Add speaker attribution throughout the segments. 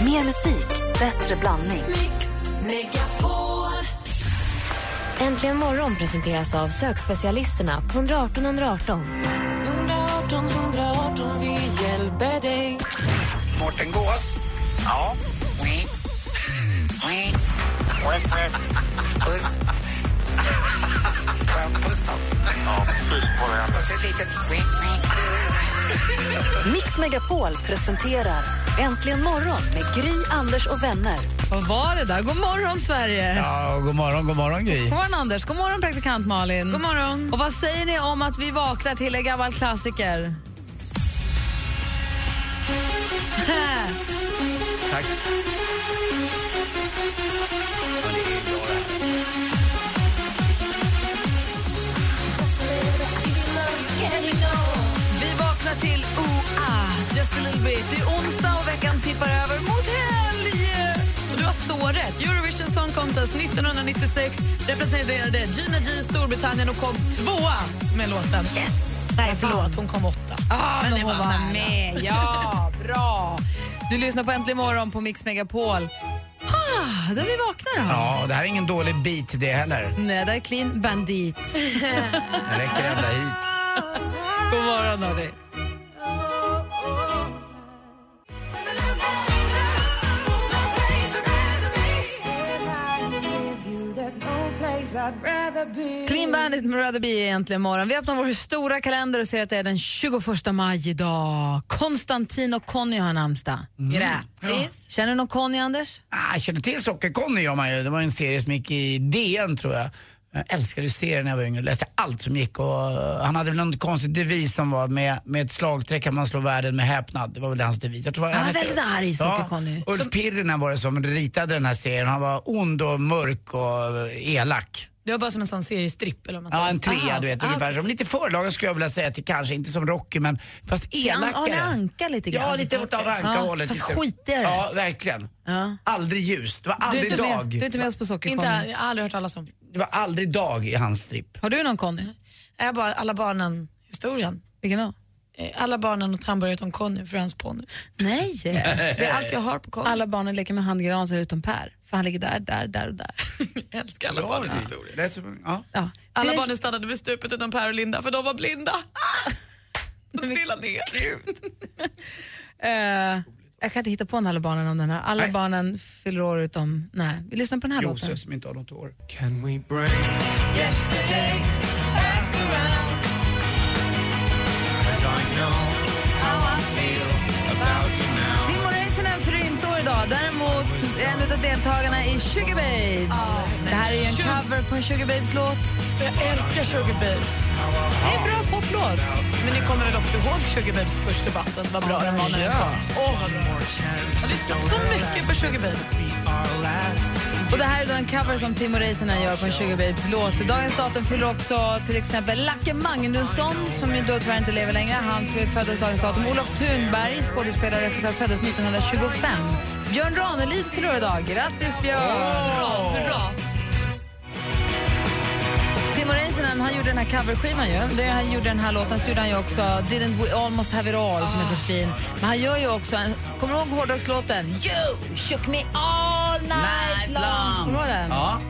Speaker 1: Mer musik, bättre blandning.
Speaker 2: Mix Megapol.
Speaker 3: Äntligen morgon presenteras av sökspecialisterna på 118 118.
Speaker 2: 118 118, vi hjälper dig.
Speaker 4: Mårten Gås? Ja. Puss. Skön puss då. Ja, fyll på det. Och så ett litet...
Speaker 1: Mix Megapol presenterar Äntligen morgon med Gry, Anders och vänner.
Speaker 5: Vad var det där? God morgon, Sverige!
Speaker 6: Ja, god morgon, god morgon Gry.
Speaker 5: God morgon, Anders. God morgon, praktikant Malin. God morgon. Och vad säger ni om att vi vaknar till en gammal klassiker?
Speaker 6: Tack.
Speaker 5: Vi vaknar till OA, just a little bit. Det är onsdag och veckan tippar över mot helg!
Speaker 7: Och du har så rätt. Eurovision Song Contest 1996 representerade Gina G Storbritannien och kom tvåa med låten. Yes! Nej, förlåt. Hon kom åtta.
Speaker 5: Ah,
Speaker 7: Men det var nära.
Speaker 5: med. Ja, bra. Du lyssnar på Äntligen morgon på Mix Megapol. Ah, då har vi vaknat då.
Speaker 6: Ja, och det här är ingen dålig bit det heller.
Speaker 5: Nej, där är Clean Bandit.
Speaker 6: Det räcker ända hit.
Speaker 5: God morgon, hörni.
Speaker 7: Mm.
Speaker 5: Clean Bandit med Rather Be är egentligen morgon. Vi öppnar vår stora kalender och ser att det är den 21 maj idag. Konstantin och Conny har namnsdag.
Speaker 7: Mm. Grattis.
Speaker 5: Känner du någon Conny, Anders?
Speaker 6: Ah, jag känner till Socker-Conny gör man ju. Det var en serie som gick i DN tror jag. Jag älskade ju serien när jag var yngre. Läste allt som gick och eh, han hade väl någon konstig devis som var med, med ett slagträ kan man slå världen med häpnad. Det var väl hans devis. Jag tror
Speaker 5: Ja,
Speaker 6: han hette-
Speaker 5: väldigt arg Socker-Conny.
Speaker 6: Ulf Pirrinen var det som ritade den här serien. Han var ond och mörk och eh, elak.
Speaker 7: Det var bara som en sån seriestripp. Eller vad man
Speaker 6: Ja,
Speaker 7: säger.
Speaker 6: en trea
Speaker 7: Aha.
Speaker 6: du vet
Speaker 7: Ah,
Speaker 6: ungefär.
Speaker 7: okej.
Speaker 6: Som lite förlaga skulle jag vilja säga till kanske, inte som Rocky men fast
Speaker 5: An-
Speaker 6: elakare.
Speaker 5: Arne Anka lite grann.
Speaker 6: Ja, lite åt av Anka-hållet.
Speaker 5: fast
Speaker 6: lite.
Speaker 5: skitigare.
Speaker 6: Ja, verkligen.
Speaker 5: Ja.
Speaker 6: Aldrig ljust. Det var
Speaker 5: Du är,
Speaker 6: aldrig
Speaker 5: inte med,
Speaker 6: dag.
Speaker 5: du är inte med oss på
Speaker 7: Inte,
Speaker 5: Socker-Conny.
Speaker 7: jag har aldrig hört talas om.
Speaker 6: Det var aldrig dag i hans stripp.
Speaker 5: Har du någon Conny?
Speaker 7: Är jag bara alla barnen-historien?
Speaker 5: Vilken då?
Speaker 7: Eh, Alla barnen och tandborget om Conny, för hans ponny.
Speaker 5: Nej!
Speaker 7: Det är allt jag har på Conny.
Speaker 5: Alla barnen leker med handgranater utom Per. För han ligger där, där, där och där.
Speaker 7: Jag älskar alla
Speaker 6: Ja,
Speaker 7: barnen.
Speaker 6: det är så- ja.
Speaker 5: Ja.
Speaker 7: Alla
Speaker 5: Det är-
Speaker 7: barnen stannade vid stupet utom Per och Linda, för de var blinda. Ah! De trillade ner.
Speaker 5: Eh, jag kan inte hitta på en Alla barnen om den här. Alla
Speaker 6: Nej.
Speaker 5: barnen fyller år utom... Nej, vi lyssnar på den här låten.
Speaker 6: Josef som inte har något hår.
Speaker 8: Can we break
Speaker 5: Timo Räisänen fyller inte år idag. Däremot en av deltagarna i Sugar Babes. det här är ju en
Speaker 7: Sugar-
Speaker 5: cover på en Ah, Sugar Babes-låt.
Speaker 7: Jag älskar Sugar Babes.
Speaker 5: Det är en bra poplåt.
Speaker 7: Men ni kommer väl också ihåg Sugar Babes pushdebatten? Vad bra den var när den kom. Åh, vad bra. Jag lyssnade så mycket på Sugar Babes.
Speaker 5: Och det här är då en cover som Timo Räisänen gör på en Sugar Babes-låt. Dagens datum fyller också till exempel Lacke Magnusson som ju då tyvärr inte lever längre. Han föddes dagens datum. Olof Thunberg, skådespelare och regissör, föddes 1925. Björn Ranelid fyller år idag. Grattis Björn!
Speaker 7: Bra.
Speaker 5: Timo Räisänen, han gjorde den här coverskivan ju. Det han gjorde den här låten så gjorde han ju också Didn't We Almost Have It All som är så fin. Men han gör ju också, en, kommer du ihåg hårdrockslåten? You shook me all night, long. Kommer du ihåg den?
Speaker 6: Ja.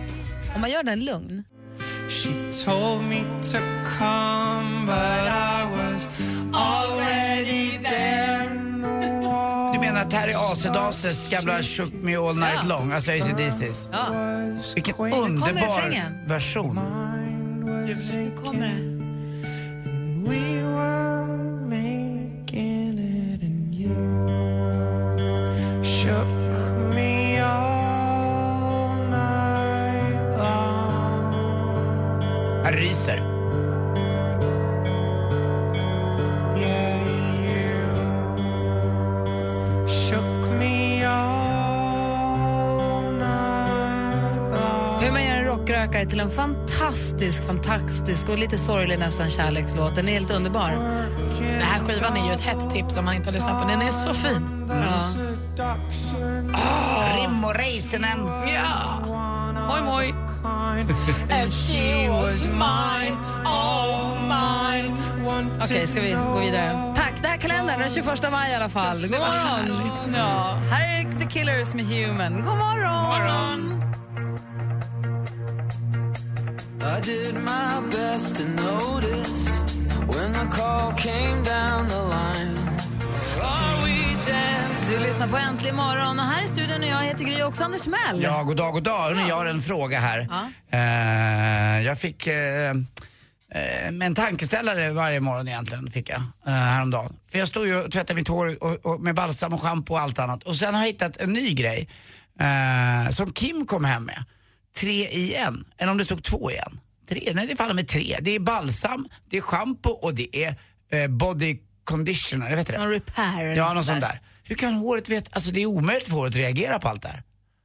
Speaker 5: Om man gör den lugn.
Speaker 8: She told me to come but I was already there
Speaker 6: Du menar att det här är AC Dases gamla Shook Me All Night Long, alltså ACDCs?
Speaker 5: Ja.
Speaker 6: Vilken
Speaker 5: kommer
Speaker 6: underbar
Speaker 5: refrängen.
Speaker 6: version.
Speaker 8: We were making it and you shook me all night long
Speaker 6: Jag ryser.
Speaker 8: Yeah, you shook me all night long
Speaker 5: Hur man gör en rockrökare till en fantastisk, fantastisk och lite sorglig nästan kärlekslåt. Den är helt underbar.
Speaker 7: Den här skivan är ju ett hett tips om man inte har lyssnat på den. Den är så fin.
Speaker 5: Ja.
Speaker 8: Seduction
Speaker 6: Rim och Räisänen.
Speaker 7: Ja! Moj, moj.
Speaker 8: kind And she was mine, all mine One
Speaker 5: Okej, ska vi gå vidare? Tack, det här är kalendern den 21 maj i alla fall. God morgon! Ja. Här är The Killer Killers med Human. God morgon!
Speaker 8: I did my best to notice when the call came down the line. Are we dancing?
Speaker 5: Du lyssnar på Äntligen morgon och här i studion och jag heter Gry också Anders Mell.
Speaker 6: Ja, god dag, god dag. Hörrni, Jag har en fråga här.
Speaker 5: Ja.
Speaker 6: Eh, jag fick eh, eh, en tankeställare varje morgon egentligen, fick jag eh, häromdagen. För jag stod ju och tvättade mitt hår och, och, med balsam och schampo och allt annat. Och sen har jag hittat en ny grej eh, som Kim kom hem med. Tre i en, eller om det stod två i en. Tre, nej det faller med tre. Det är balsam, det är schampo och det är eh, body conditioner, jag vet inte det.
Speaker 5: Någon repair eller
Speaker 6: Ja,
Speaker 5: något
Speaker 6: något
Speaker 5: sånt
Speaker 6: sånt där. Hur kan håret veta? Alltså det är omöjligt för håret att reagera på allt det här.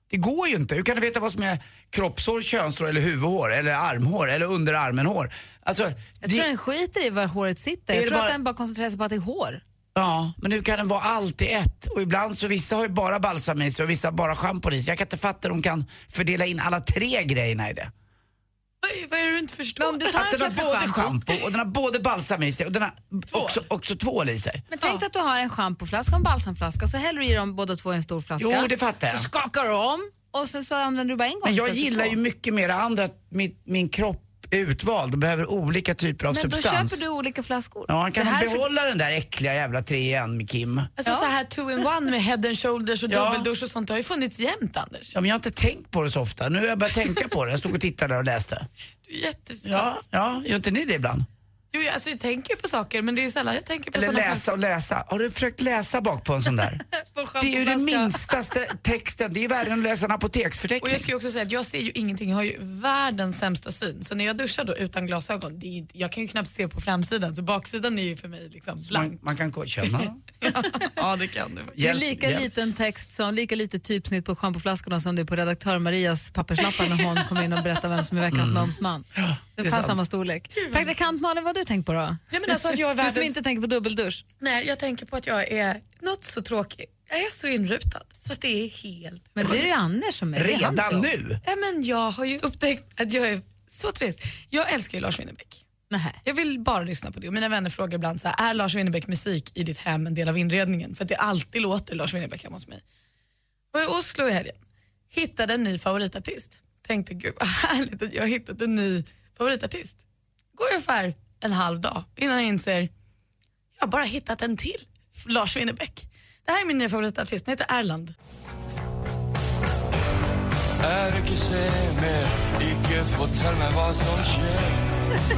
Speaker 6: Det går ju inte. Hur kan det veta vad som är kroppshår, könshår eller huvudhår eller armhår eller underarmenhår? Alltså,
Speaker 5: Jag tror den skiter i var håret sitter.
Speaker 6: Är
Speaker 5: Jag
Speaker 6: det
Speaker 5: tror att
Speaker 6: bara-
Speaker 5: den bara koncentrerar sig på att det är hår.
Speaker 6: Ja, men hur kan den vara allt i ett? Och ibland så vissa har ju bara balsam i sig och vissa har bara schampo i sig. Jag kan inte fatta hur de kan fördela in alla tre grejerna i det.
Speaker 7: Vad, vad är det du inte förstår?
Speaker 5: Men om du tar
Speaker 6: Att
Speaker 5: en
Speaker 6: den har
Speaker 5: flaska
Speaker 6: både
Speaker 5: schampo.
Speaker 6: schampo och den har både balsam i sig och den har också, också tvål i sig.
Speaker 5: Men tänk dig att du har en schampoflaska och en balsamflaska så häller du i dem båda två i en stor flaska.
Speaker 6: Jo, det fattar jag.
Speaker 5: Så skakar du om och sen så använder du bara en gång.
Speaker 6: Men jag
Speaker 5: istället för
Speaker 6: gillar
Speaker 5: två.
Speaker 6: ju mycket mer det andra, att min, min kropp är utvald och behöver olika typer av
Speaker 5: Men
Speaker 6: substans.
Speaker 5: då köper du olika flaskor.
Speaker 6: Ja, han kan
Speaker 5: det här är för-
Speaker 6: behålla den där äckliga jävla trean med Kim.
Speaker 7: Alltså så här two-in-one med head and shoulders och
Speaker 6: Ja.
Speaker 7: dubbeldusch och sånt, det har ju funnits jämt Anders.
Speaker 6: Ja, men jag har inte tänkt på det så ofta. Nu har jag börjat tänka på det. Jag stod och tittade där och läste.
Speaker 7: Du är jättesöt.
Speaker 6: Ja, ja gör inte ni det ibland?
Speaker 7: Jo, jag, alltså, jag tänker på saker men det är sällan jag tänker på
Speaker 6: Eller
Speaker 7: sådana
Speaker 6: läsa och läsa. Har du försökt läsa bak på en sån där? Det
Speaker 7: på
Speaker 6: är ju det
Speaker 7: schampoflaska.
Speaker 6: minsta texten. Det är ju värre än att läsa en
Speaker 7: Och
Speaker 6: apoteksförteckning.
Speaker 7: jag ska ju också säga att jag ser ju ingenting, jag har ju världens sämsta syn. Så när jag duschar då utan glasögon, det är ju, jag kan ju knappt se på framsidan så baksidan är ju för mig liksom
Speaker 6: Man,
Speaker 7: blank.
Speaker 6: man kan gå- känna.
Speaker 7: Ja det kan du.
Speaker 5: Det är
Speaker 6: Hjälp,
Speaker 5: lika
Speaker 6: hjälp.
Speaker 5: liten text, som, lika lite typsnitt på schampoflaskorna som det är på redaktör Marias papperslappar när hon kommer in och berättar vem som är veckans momsman.
Speaker 6: Mm. det är
Speaker 5: Ungefär
Speaker 6: sant.
Speaker 5: samma storlek. Praktikant Malin, vad har du tänkt på då?
Speaker 7: Nej men alltså att jag är
Speaker 5: Du som
Speaker 7: världens...
Speaker 5: inte tänker på dubbeldusch.
Speaker 7: Nej jag tänker på att jag är något så tråkigt, jag är så inrutad så att det är helt...
Speaker 5: Men det är ju Anders som är det är han
Speaker 6: Redan
Speaker 5: så.
Speaker 6: nu?
Speaker 7: Nej men jag har ju upptäckt att jag är så trist. Jag älskar ju Lars Winnerbäck.
Speaker 5: Nähä.
Speaker 7: Jag vill bara lyssna på det. Och mina vänner frågar ibland så här, är Lars Winnerbäck musik i ditt hem en del av inredningen? För att det alltid låter Lars Winnerbäck hemma hos mig. Var i Oslo i helgen, hittade en ny favoritartist. Tänkte gud vad härligt att jag har hittat en ny favoritartist. Går ungefär en halv dag innan jag inser, jag har bara hittat en till Lars Winnerbäck. Det här är min nya favoritartist, den heter Erland.
Speaker 8: Erke Seme, ikke fortell meg hva som skjer.
Speaker 7: Det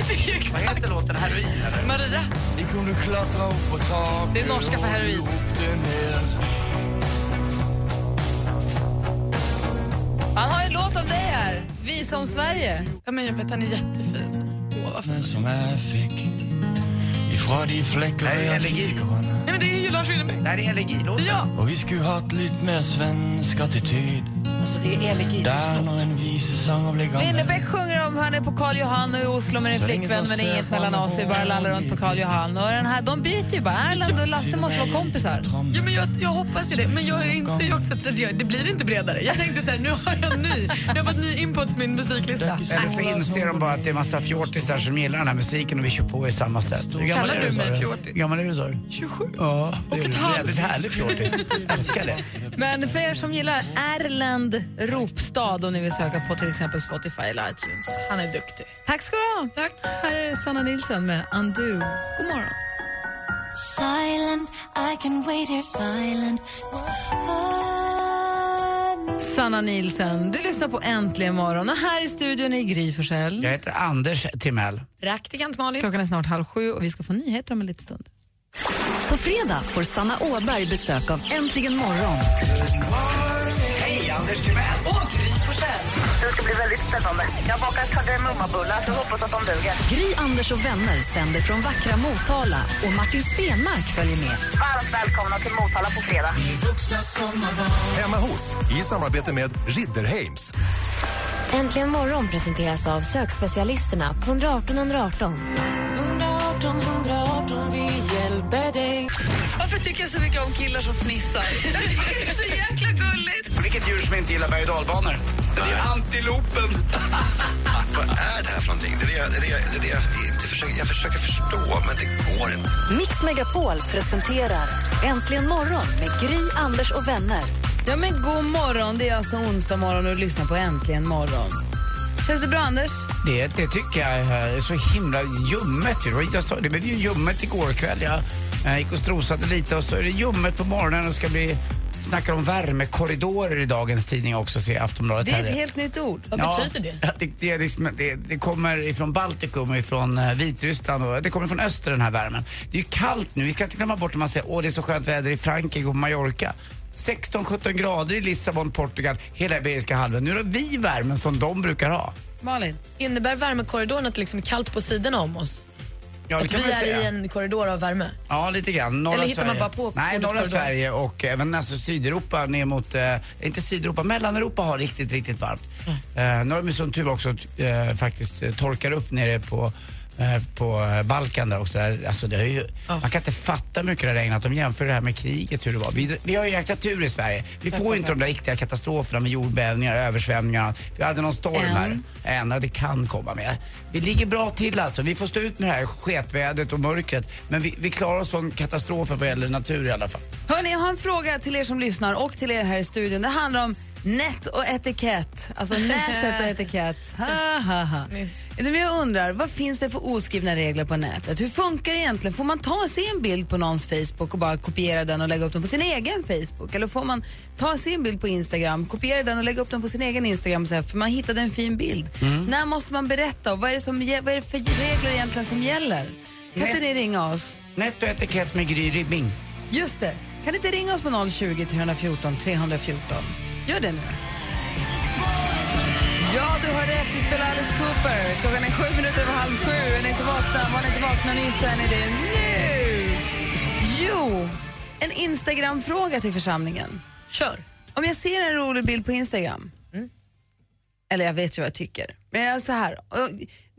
Speaker 7: är ju
Speaker 6: Vad
Speaker 7: exakt
Speaker 6: heter låten? Heroin eller?
Speaker 7: Maria.
Speaker 8: Ikke om du klatrer opp på taket
Speaker 7: Det er norska for
Speaker 8: og
Speaker 7: heroin.
Speaker 8: ropte ned.
Speaker 5: Han har ju en låt om dig här, Visa om Sverige.
Speaker 7: Ja, men jag vet, han är jättefin. Åh, vad fin.
Speaker 8: Som jeg fikk ifra de flekker
Speaker 6: Nei,
Speaker 8: jeg
Speaker 6: jeg
Speaker 8: fikk
Speaker 6: ligger-
Speaker 8: skåne.
Speaker 7: Nej, men det är ju Lars Winnerbäck.
Speaker 6: Det här är elegilåten.
Speaker 7: Ja!
Speaker 8: Og vi skulle hatt litt mer svensk attityd.
Speaker 6: Alltså, det är elegil.
Speaker 8: Der når en visesanger blir gammel.
Speaker 5: Winnerbäck sjunger om han är på Karl Johan och i Oslo med en
Speaker 8: Så det är
Speaker 5: flickvän
Speaker 8: ingen som
Speaker 5: men det är
Speaker 8: ser
Speaker 5: inget mellan oss, vi bara lallar runt på Karl Johan. Och den här, de byter ju bara, Erland och Lasse måste vara kompisar.
Speaker 7: Ja, men jag, jag hoppas ju det, men jag inser ju också att jag, det blir inte bredare. Jag tänkte så här, nu har jag ny, nu har jag fått ny input till min musiklista.
Speaker 6: Eller så inser de bara att det är massa fjortisar som gillar den här musiken och vi kör på i samma sätt. Hur gammal är
Speaker 7: Kallar
Speaker 6: du
Speaker 7: du
Speaker 6: sa
Speaker 7: mig
Speaker 6: du?
Speaker 7: fjortis?
Speaker 6: Hur gammal är du sa du?
Speaker 7: 27.
Speaker 6: Ja, det är
Speaker 7: ett
Speaker 6: du.
Speaker 7: halvt.
Speaker 6: Väldigt härlig fjortis. Älskar det.
Speaker 5: Men för er som gillar Erland Ropstad om ni vill söka på till exempel Spotify eller iTunes.
Speaker 7: Han är duktig.
Speaker 5: Tack ska du ha.
Speaker 7: Tack.
Speaker 5: Här är Sanna Nilsson med Undo. God morgon.
Speaker 2: Silent, I can wait here silent.
Speaker 5: Sanna Nilsson, du lyssnar på Äntligen morgon och här i studion är Gry Forssell.
Speaker 6: Mm. Jag heter Anders Timell.
Speaker 7: Praktikant Malin.
Speaker 5: Klockan är snart halv sju och vi ska få nyheter om en liten stund.
Speaker 1: På fredag får Sanna Åberg besök av Äntligen morgon.
Speaker 6: Hej, Anders Timell!
Speaker 9: Det ska bli väldigt spännande. Jag bakar kardemummabullar, så hoppas att de duger.
Speaker 1: Gry, Anders och vänner sänder från vackra Motala och Martin Stenmark följer med.
Speaker 9: Varmt välkomna till Motala på fredag.
Speaker 10: Hemma hos, i samarbete med Ridderheims.
Speaker 3: Äntligen morgon presenteras av sökspecialisterna på 118 118.
Speaker 2: 118 118, vi hjälper dig.
Speaker 7: Varför tycker jag så mycket om killar som fnissar? Jag tycker det är så jäkla gulligt.
Speaker 6: Vilket djur som inte gillar berg och dalbanor? Det är antilopen.
Speaker 10: Vad är det här för någonting? Det är det, jag- det, är det, jag- det, är det jag inte förstår.
Speaker 4: försöker, jag försöker förstå, men det går inte.
Speaker 1: Mix Megapol presenterar Äntligen morgon med Gry, Anders och vänner.
Speaker 5: Ja, men god morgon. Det är alltså onsdag morgon och du lyssnar på Äntligen morgon. Känns det bra, Anders?
Speaker 6: Det, det tycker jag är så himla ljummet. ju. Det var- Jag sa, det blev ju ljummet igår kväll. Jag eh, gick och strosade lite och så är det ljummet på morgonen och ska bli Snackar om värmekorridorer i dagens tidning också, ser jag Aftonbladet
Speaker 5: Det är
Speaker 6: här.
Speaker 5: ett helt nytt ord.
Speaker 6: det? Det, det, är liksom, det, det kommer ifrån Baltikum och ifrån eh, Vitryssland och det kommer från öster den här värmen. Det är ju kallt nu, vi ska inte glömma bort när man säger åh det är så skönt väder i Frankrike och Mallorca. 16-17 grader i Lissabon, Portugal, hela Iberiska halvön. Nu har vi värmen som de brukar ha.
Speaker 5: Malin?
Speaker 7: Innebär värmekorridoren att det liksom är kallt på sidorna om oss?
Speaker 6: Ja, det
Speaker 7: att
Speaker 6: kan
Speaker 7: vi
Speaker 6: man
Speaker 7: är
Speaker 6: säga.
Speaker 7: i en korridor av värme?
Speaker 6: Ja, lite grann. Norra
Speaker 7: Eller hittar man
Speaker 6: Sverige.
Speaker 7: bara på
Speaker 6: Nej,
Speaker 7: ordet
Speaker 6: norra
Speaker 7: korridor?
Speaker 6: Sverige och även alltså Sydeuropa ner mot, eh, inte Sydeuropa, Mellaneuropa har riktigt, riktigt varmt. Eh, nu har de som tur var också eh, faktiskt eh, torkar upp nere på eh, på eh, Balkan där också. Där. Alltså det är ju, Man kan inte fatta hur mycket det har regnat. De jämför det här med kriget, hur det var. Vi, vi har ju jäkla tur i Sverige. Vi får ju inte de där riktiga katastroferna med jordbävningar, översvämningar och annat. Vi hade någon storm här. Än, ja, det kan komma med. Vi ligger bra till alltså. Vi får stå ut med det här sketvädret och mörkret. Men vi, vi klarar oss från katastrofer vad gäller natur i alla fall.
Speaker 5: Hörni, jag har en fråga till er som lyssnar och till er här i studion. Det handlar om nät och etikett. Alltså nätet och etikett. Ha, ha, ha. Men jag undrar, vad finns det för oskrivna regler på nätet? Hur funkar det egentligen? Får man ta sig en bild på någons Facebook och bara kopiera den och lägga upp den på sin egen Facebook? Eller får man ta sig en bild på Instagram, kopiera den och lägga upp den på sin egen Instagram och säga för man hittade en fin bild?
Speaker 11: Mm.
Speaker 5: När måste man berätta? Och vad, är det som, ge- vad är det för regler egentligen som gäller? Kan inte ni ringa oss?
Speaker 6: Nät och etikett med Gry Ribbing.
Speaker 5: Just det. Kan inte ringa oss på 020 314 314? Gör det nu. Ja, du har rätt. Vi spelar Alice Cooper. Klockan är sju minuter över halv sju. Är ni inte vakna? Var ni inte vakna nyss så är ni det nu. Jo, en Instagram-fråga till församlingen. Kör. Om jag ser en rolig bild på Instagram, eller jag vet ju vad jag tycker, men jag är så här, och,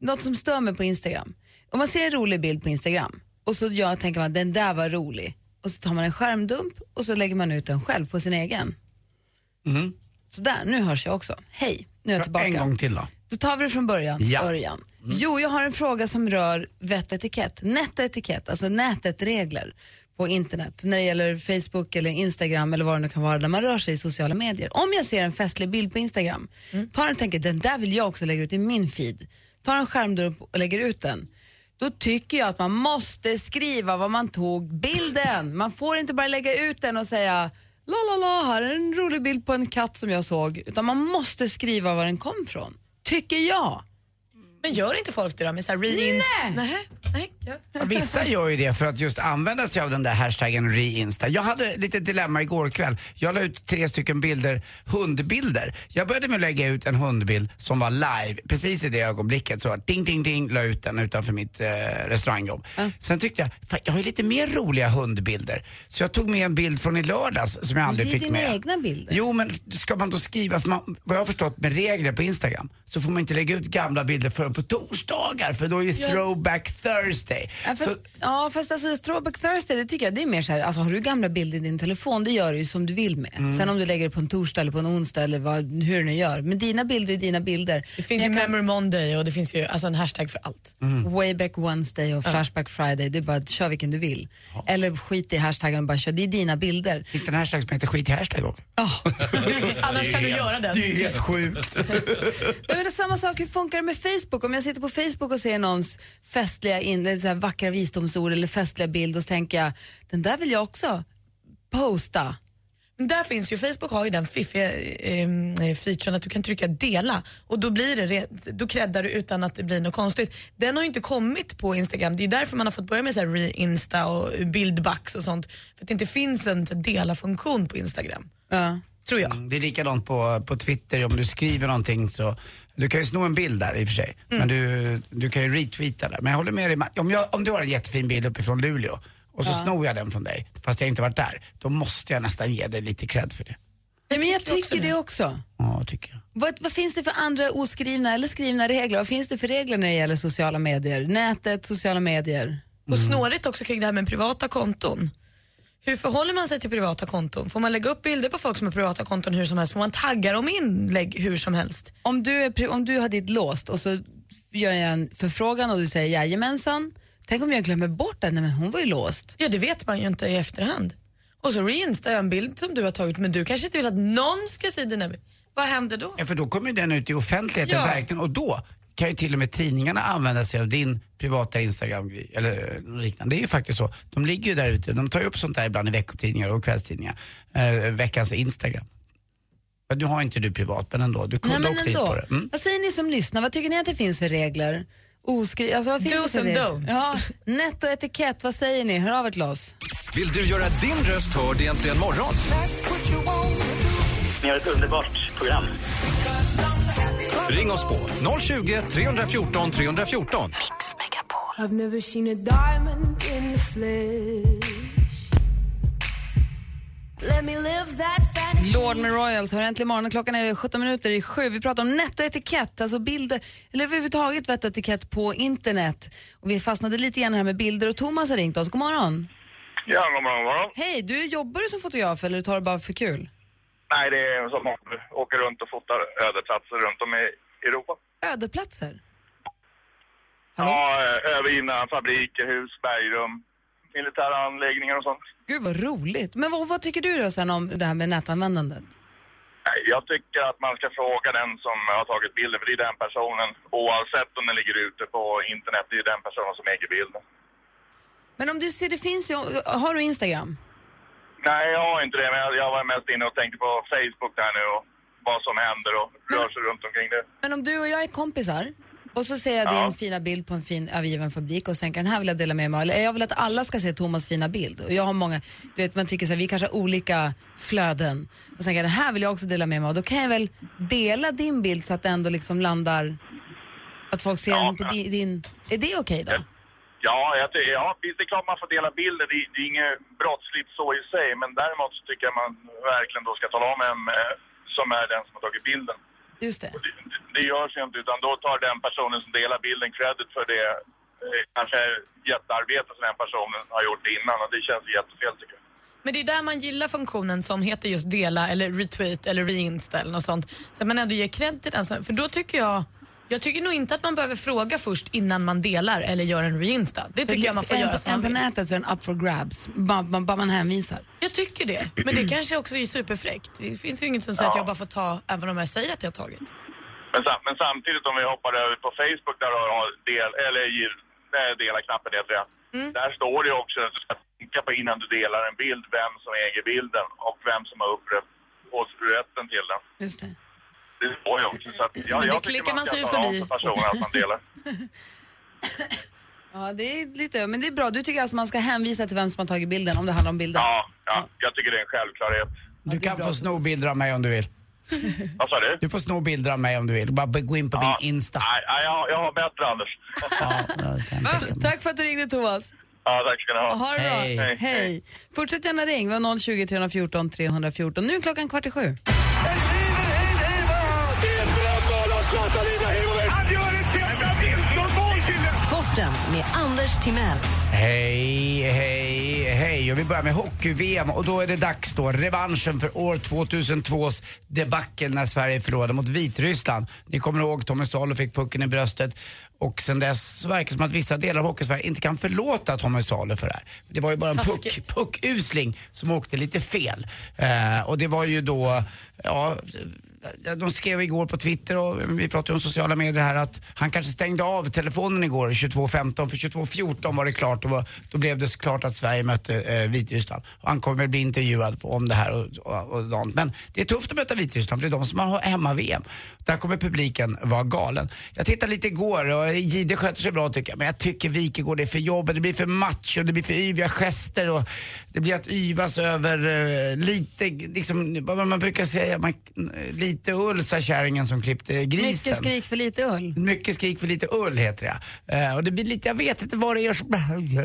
Speaker 5: något som stör mig på Instagram. Om man ser en rolig bild på Instagram och så jag tänker man den där var rolig och så tar man en skärmdump och så lägger man ut den själv på sin egen.
Speaker 6: Mm.
Speaker 5: Så där, nu hörs jag också. Hej, nu är jag tillbaka.
Speaker 6: En gång till då.
Speaker 5: Då tar vi det från början.
Speaker 6: Ja.
Speaker 5: Örjan. Jo, jag har en fråga som rör vett och etikett. Nät och etikett, alltså nätet-regler på internet när det gäller Facebook eller Instagram eller vad det nu kan vara när man rör sig i sociala medier. Om jag ser en festlig bild på Instagram, tar den och tänker den där vill jag också lägga ut i min feed, tar en skärmdump och lägger ut den, då tycker jag att man måste skriva vad man tog bilden. Man får inte bara lägga ut den och säga la la la, här är en rolig bild på en katt som jag såg, utan man måste skriva var den kom ifrån. Tycker jag.
Speaker 7: Men gör inte folk det då med så här re-ins? Nej! Nej.
Speaker 6: Ja, Vissa gör ju det för att just använda sig av den där hashtaggen reinsta. Jag hade lite dilemma igår kväll. Jag la ut tre stycken bilder, hundbilder. Jag började med att lägga ut en hundbild som var live. Precis i det ögonblicket så ding, ding, ding, la ut den utanför mitt eh, restaurangjobb. Sen tyckte jag, fan, jag har ju lite mer roliga hundbilder. Så jag tog med en bild från i lördags som jag aldrig
Speaker 5: Det är
Speaker 6: fick
Speaker 5: dina
Speaker 6: med.
Speaker 5: egna bilder.
Speaker 6: Jo, men ska man då skriva, för man, vad jag har förstått med regler på Instagram, så får man inte lägga ut gamla bilder förrän på torsdagar för då är det
Speaker 5: Ja.
Speaker 6: throwback Thursday.
Speaker 5: Ja, fast,
Speaker 6: Så,
Speaker 5: ja, fast alltså, throwback Thursday, det tycker jag det är mer så här, alltså, har du gamla bilder i din telefon, det gör du ju som du vill med.
Speaker 7: Mm.
Speaker 5: Sen om du lägger det på en torsdag eller på en onsdag eller vad, hur du nu gör. Men dina bilder är dina bilder.
Speaker 7: Det finns ju Memory Monday och det finns ju alltså en hashtag för allt.
Speaker 5: Wayback Wednesday och Flashback Friday, det är bara att kör vilken du vill. Eller skit i hashtaggen och bara kör, det är dina bilder.
Speaker 6: Finns det en hashtag som heter skit i hashtag också?
Speaker 7: annars kan du göra den.
Speaker 6: Det är helt sjukt.
Speaker 5: Nej, men det är samma sak, hur funkar det med Facebook? Om jag sitter på Facebook och ser någons festliga in, eller så här vackra visdomsord eller festliga bild och så tänker jag, den där vill jag också posta.
Speaker 7: Men där finns ju, Facebook har ju den fiffiga eh, eh, featuren att du kan trycka dela och då blir det, re- då creddar du utan att det blir något konstigt. Den har ju inte kommit på Instagram, det är därför man har fått börja med så här re-insta och bildbacks och sånt. För att det inte finns en dela-funktion på Instagram. Tror jag.
Speaker 6: Mm, Det är likadant på, på Twitter, om du skriver någonting så du kan ju sno en bild där i och för sig,
Speaker 5: Mm.
Speaker 6: men du, du kan ju retweeta där. Men jag håller med dig, Ma- om, jag, om du har en jättefin bild uppifrån Luleå och så
Speaker 5: Ja.
Speaker 6: snor jag den från dig, fast jag inte varit där, då måste jag nästan ge dig lite cred för det.
Speaker 5: Nej, men jag tycker det också.
Speaker 6: Ja, tycker jag.
Speaker 5: Vad, vad finns det för andra oskrivna eller skrivna regler? Vad finns det för regler när det gäller sociala medier? Nätet, sociala medier?
Speaker 7: Och snårigt också kring det här med privata konton. Hur förhåller man sig till privata konton? Får man lägga upp bilder på folk som har privata konton hur som helst? Får man tagga dem i inlägg hur som helst?
Speaker 5: Om du, är, pri- om du har ditt låst och så gör jag en förfrågan och du säger jajamensan. Tänk om jag glömmer bort den, Nej, men hon var ju låst.
Speaker 7: Ja, det vet man ju inte i efterhand. Och så reinstar jag en bild som du har tagit men du kanske inte vill att någon ska se dina bilder. Vad händer då?
Speaker 6: Ja, för då kommer ju den ut i offentligheten
Speaker 7: Ja.
Speaker 6: verkligen och då kan ju till och med tidningarna använda sig av din privata instagram eller eh, något liknande. Det är ju faktiskt så. De ligger ju där ute. De tar ju upp sånt där ibland i veckotidningar och kvällstidningar. Eh, veckans Instagram. Ja, Du har inte du privat, men ändå. Du kunde
Speaker 5: Nej, men
Speaker 6: åkt dit på
Speaker 5: ändå.
Speaker 6: det. Mm.
Speaker 5: Vad säger ni som lyssnar? Vad tycker ni att det finns för regler? Oskri- alltså, vad finns
Speaker 7: Do's
Speaker 5: det för
Speaker 7: and
Speaker 5: regler?
Speaker 7: don'ts.
Speaker 5: Ja, nett och etikett, vad säger ni? Hör av er till oss.
Speaker 12: Vill du göra din röst hörd i Äntligen morgon?
Speaker 13: Ni har ett underbart program.
Speaker 12: Ring oss på 020 314 314.
Speaker 14: I've never seen a diamond in the flesh. Let me live that fantasy.
Speaker 5: Lord med Royals har äntligen morgon och klockan är 17 minuter i sju. Vi pratar om netto etikett, alltså bilder, eller överhuvudtaget vett och etikett på internet. Och vi fastnade lite grann här med bilder och Thomas har ringt oss. God morgon.
Speaker 15: Ja, god morgon, god morgon.
Speaker 5: Hej, du jobbar du som fotograf eller tar du bara för kul?
Speaker 15: Nej, det är som att du åker runt och fotar ödeplatser runt om i Europa.
Speaker 5: Ödeplatser?
Speaker 15: Ja, eh, övergivna fabriker, hus, bergrum, militära anläggningar och sånt.
Speaker 5: Gud vad roligt. Men vad, vad tycker du då sen om det här med nätanvändandet?
Speaker 15: Nej, jag tycker att man ska fråga den som har tagit bilden, för det är den personen, oavsett om den ligger ute på internet, det är den personen som äger bilden.
Speaker 5: Men om du ser, det finns ju, har du Instagram?
Speaker 15: Nej, jag har inte det, men jag- jag var mest inne och tänkte på Facebook där nu och vad som händer och rör sig runt omkring det.
Speaker 5: Men om du och jag är kompisar och så ser jag
Speaker 15: Ja.
Speaker 5: din fina bild på en fin övergiven fabrik och tänker den här vill jag dela med mig av. Eller jag vill att alla ska se Thomas fina bild. Och jag har många, du vet man tycker så här, vi kanske har olika flöden. Och tänker den här vill jag också dela med mig av. Då kan jag väl dela din bild så att det ändå liksom landar, att folk ser den på di- din, är det okej då?
Speaker 15: Ja, jag ty- ja, visst det är klart man får dela bilder. Det, det är inget brottsligt så i sig. Men däremot så tycker jag man verkligen då ska tala om vem eh, som är den som har tagit bilden.
Speaker 5: Just det.
Speaker 15: Det görs ju inte, utan då tar den personen som delar bilden credit för det eh, kanske jättearbete som den personen har gjort innan. Och det känns jättefel tycker jag.
Speaker 7: Men det är där man gillar funktionen som heter just dela eller retweet eller reinsta eller något sånt. Så att man ändå ger cred till den. som- För då tycker jag, jag tycker nog inte att man behöver fråga först innan man delar eller gör en reinsta. Det tycker jag man får
Speaker 5: en,
Speaker 7: göra
Speaker 5: på-
Speaker 7: som
Speaker 5: en
Speaker 7: man
Speaker 5: på
Speaker 7: vill.
Speaker 5: nätet så är den up for grabs, bara man, man hänvisar.
Speaker 7: Jag tycker det, men det kanske också är superfräckt. Det finns ju inget som säger att jag bara får ta även om jag säger att jag har tagit.
Speaker 15: Men, sam- men samtidigt om vi hoppar över på Facebook där du har del, eller ger- nej, dela knappen heter det.
Speaker 5: Mm.
Speaker 15: Där står det ju också att du ska tänka på innan du delar en bild vem som äger bilden och vem som har upprätt- åt- rätten till den.
Speaker 5: Just det.
Speaker 15: Det står ju också. Så att, ja,
Speaker 5: Men det
Speaker 15: jag tycker
Speaker 5: klickar man
Speaker 15: ska
Speaker 5: sig ju
Speaker 15: tala om
Speaker 5: förbi
Speaker 15: för personen att man delar.
Speaker 5: Ja, det är lite, men det är bra. Du tycker alltså man ska hänvisa till vem som har tagit bilden om det handlar om bilder?
Speaker 15: Ja, ja, jag tycker det är en självklarhet.
Speaker 6: Du kan få sno bilder av mig om du vill.
Speaker 15: Vad sa du?
Speaker 6: Du får sno bilder av mig om du vill. Bara gå in på min Insta.
Speaker 15: Nej, nej, jag, jag har bättre, Anders.
Speaker 5: Ah, Tack för att du ringde Thomas.
Speaker 15: ja, tack ska ni ha.
Speaker 5: Ha det bra. Hej. Fortsätt gärna ring. Vi har 020 314 314. Nu är klockan kvart i sju.
Speaker 1: Sporten med Anders Timell.
Speaker 6: Hej, hej, hej. Och vi börjar med hockey-VM och då är det dags då. Revanschen för år 2002s debacle när Sverige förlorade mot Vitryssland. Ni kommer ihåg Tommy Salo fick pucken i bröstet och sen dess så verkar det som att vissa delar av hockey-Sverige inte kan förlåta Tommy Salo för det här. Det var ju bara en puck,
Speaker 16: Taskigt.
Speaker 6: puckusling som åkte lite fel. Eh, och det var ju då, ja, de skrev igår på Twitter och vi pratade ju om sociala medier här att han kanske stängde av telefonen igår 22.15 för 22.14 var det klart och var, då blev det såklart att Sverige mötte eh, Vitryssland. Och han kommer bli intervjuad på, om det här och, och, och sånt. Men det är tufft att möta Vitryssland för det är de som har hemma-VM. Där kommer publiken vara galen. Jag tittade lite igår och Jihde sköter sig bra tycker jag. Men jag tycker Wikegård är för jobbigt. Det blir för match och det blir för yviga gester och det blir att yvas över eh, lite, liksom, vad man brukar säga, man, eh, lite ull sa kärringen som klippte grisen.
Speaker 5: Mycket skrik för lite ull.
Speaker 6: Mycket skrik för lite ull heter det. Eh, och det blir lite, jag vet inte vad det gör som...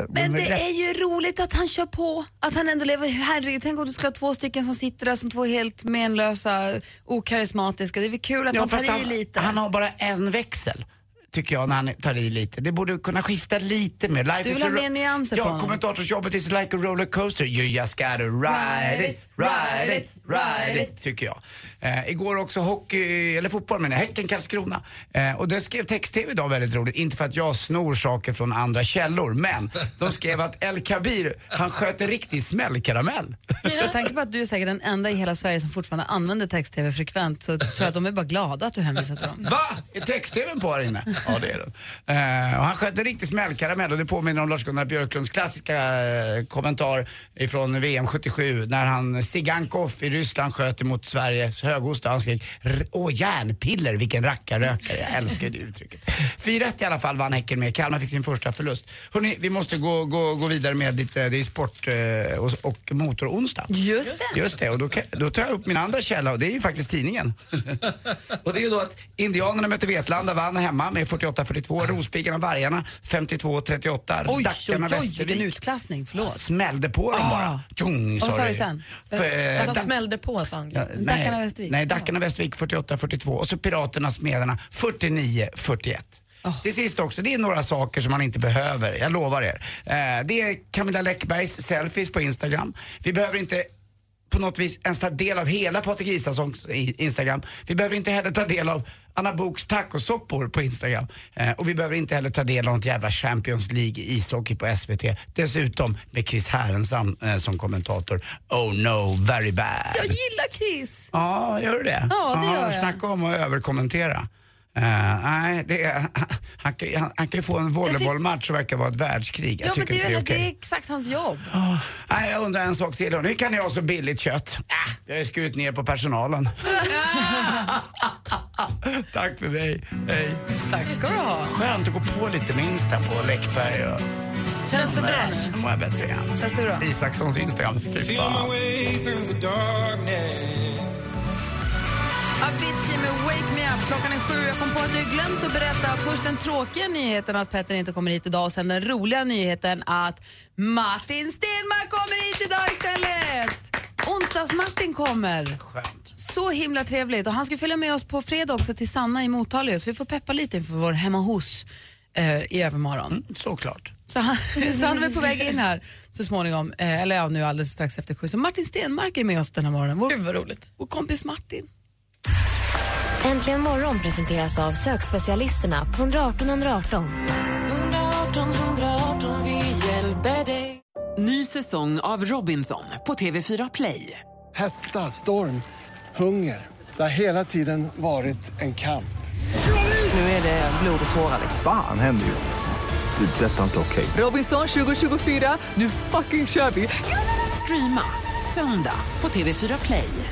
Speaker 5: Men det är ju roligt att han kör på, att han ändå lever. Herregud, tänk om du skulle ha två stycken som sitter där som två helt menlösa, okarismatiska. Det är väl kul att
Speaker 6: Ja,
Speaker 5: han tar
Speaker 6: fast
Speaker 5: i lite.
Speaker 6: han har bara en växel. tycker jag, när han tar i lite. Det borde kunna skifta lite mer. Life
Speaker 5: Du vill
Speaker 6: is a
Speaker 5: ha
Speaker 6: ro-
Speaker 5: mer nyanser
Speaker 6: ja,
Speaker 5: på honom.
Speaker 6: kommentatorsjobbet is like a roller coaster. You just gotta ride it, ride it, ride it, tycker jag. Eh, igår också hockey, eller fotboll menar jag, Häcken-Karlskrona. Eh, och det skrev text-tv idag väldigt roligt. Inte för att jag snor saker från andra källor, men de skrev att El Kabir, han sköt en riktig smällkaramell.
Speaker 5: Med tanke på att du är säkert den enda i hela Sverige som fortfarande använder text-tv frekvent så tror jag att de är bara glada att du hänvisar till dem.
Speaker 6: Va? Är text-tvn på här inne? Ja, det är den. Eh, och han sköt en riktig smällkaramell och det påminner om Lars-Gunnar Björklunds klassiska eh, kommentar ifrån VM 77 när han Stigankov i Ryssland sköt emot Sveriges högosta. Han skrek "R- åh järnpiller vilken rackarrökare. Jag älskar det uttrycket. 4-1 i alla fall vann Häcken med. Kalmar fick sin första förlust. Hörrni, vi måste gå, gå, gå vidare med lite, det är sport eh, och, och motoronsdag.
Speaker 5: Just
Speaker 6: det. Just det, och då, kan- då tar jag upp min andra källa och det är ju faktiskt tidningen. Och det är ju då att Indianerna mötte Vetlanda, vann hemma med 48-42. Rospiggarna, Vargarna 52-38.
Speaker 5: Ah. Oj, oj,
Speaker 6: Dackarna,
Speaker 5: oj, vilken
Speaker 6: Västervik.
Speaker 5: utklassning. Förlåt.
Speaker 6: Smällde på dem
Speaker 5: Ah.
Speaker 6: bara. Tjong,
Speaker 5: Och vad sa du sen?
Speaker 6: För-
Speaker 17: alltså
Speaker 6: Dack-
Speaker 17: smällde på sa han.
Speaker 6: Ja,
Speaker 17: Ja,
Speaker 6: nej, Nej, Dackarna, Västervik 48-42 och så Piraterna, Smederna 49-41. Till sist också, det är några saker som man inte behöver, jag lovar er. Eh, det är Camilla Läckbergs selfies på Instagram. Vi behöver inte på något vis ens ta del av hela Patrik Isakssons i- Instagram. Vi behöver inte heller ta del av Anna Boks tacosoppor på Instagram. Eh, och vi behöver inte heller ta del av något jävla Champions League i ishockey på SVT. Dessutom med Chris Härenstam eh, som kommentator. Oh no, very bad.
Speaker 5: Jag gillar Chris!
Speaker 6: Ja, gör du det?
Speaker 5: Ja, det gör jag.
Speaker 6: Snacka om att överkommentera. Eh, nej, det är, han, kan, han, han kan ju få en volleybollmatch och verkar vara ett världskrig. Jag
Speaker 5: Ja, men
Speaker 6: tycker
Speaker 5: det,
Speaker 6: inte det är
Speaker 5: är, Mm.
Speaker 6: okej.
Speaker 5: det är exakt hans jobb.
Speaker 6: Nej, jag undrar en sak till. Hur kan ni ha så billigt kött? Äh, jag har ju skurit ner på personalen. Tack för mig. Hej.
Speaker 5: Tack ska du ha.
Speaker 6: Skönt att gå på lite med Insta på Läckberg och...
Speaker 5: Känns det bra?
Speaker 6: Nu mår jag bättre igen.
Speaker 5: Känns det bra?
Speaker 6: Isakssons Instagram. Fy fan.
Speaker 18: Avicii med Wake Me Up. Klockan är sju. Jag kom på att jag glömt att berätta först den tråkiga nyheten att Petter inte kommer hit idag och sen den roliga nyheten att Martin Stenmarck kommer hit idag istället.
Speaker 5: Onsdags-Martin kommer.
Speaker 6: Skönt.
Speaker 5: Så himla trevligt. Och han ska följa med oss på fredag också till Sanna i Motala så vi får peppa lite inför vår hemma hos eh, i övermorgon.
Speaker 6: såklart.
Speaker 5: Så han, så han är väl på väg in här så småningom, eh, eller ja, nu alldeles strax efter sju. Så Martin Stenmark är med oss den här morgonen. Vår, Gud vad roligt. Vår kompis Martin.
Speaker 1: Äntligen morgon presenteras av sökspecialisterna på 118 118.
Speaker 19: 118 118, vi hjälper dig.
Speaker 20: Ny säsong av Robinson på TV4 Play.
Speaker 8: Hetta, storm, hunger. Det har hela tiden varit en kamp.
Speaker 20: Nu är det blod och tårar.
Speaker 12: Fan händer just nu. Det. är Detta är inte okej.
Speaker 20: Robinson 2024, nu fucking kör vi! Streama söndag på TV4 Play.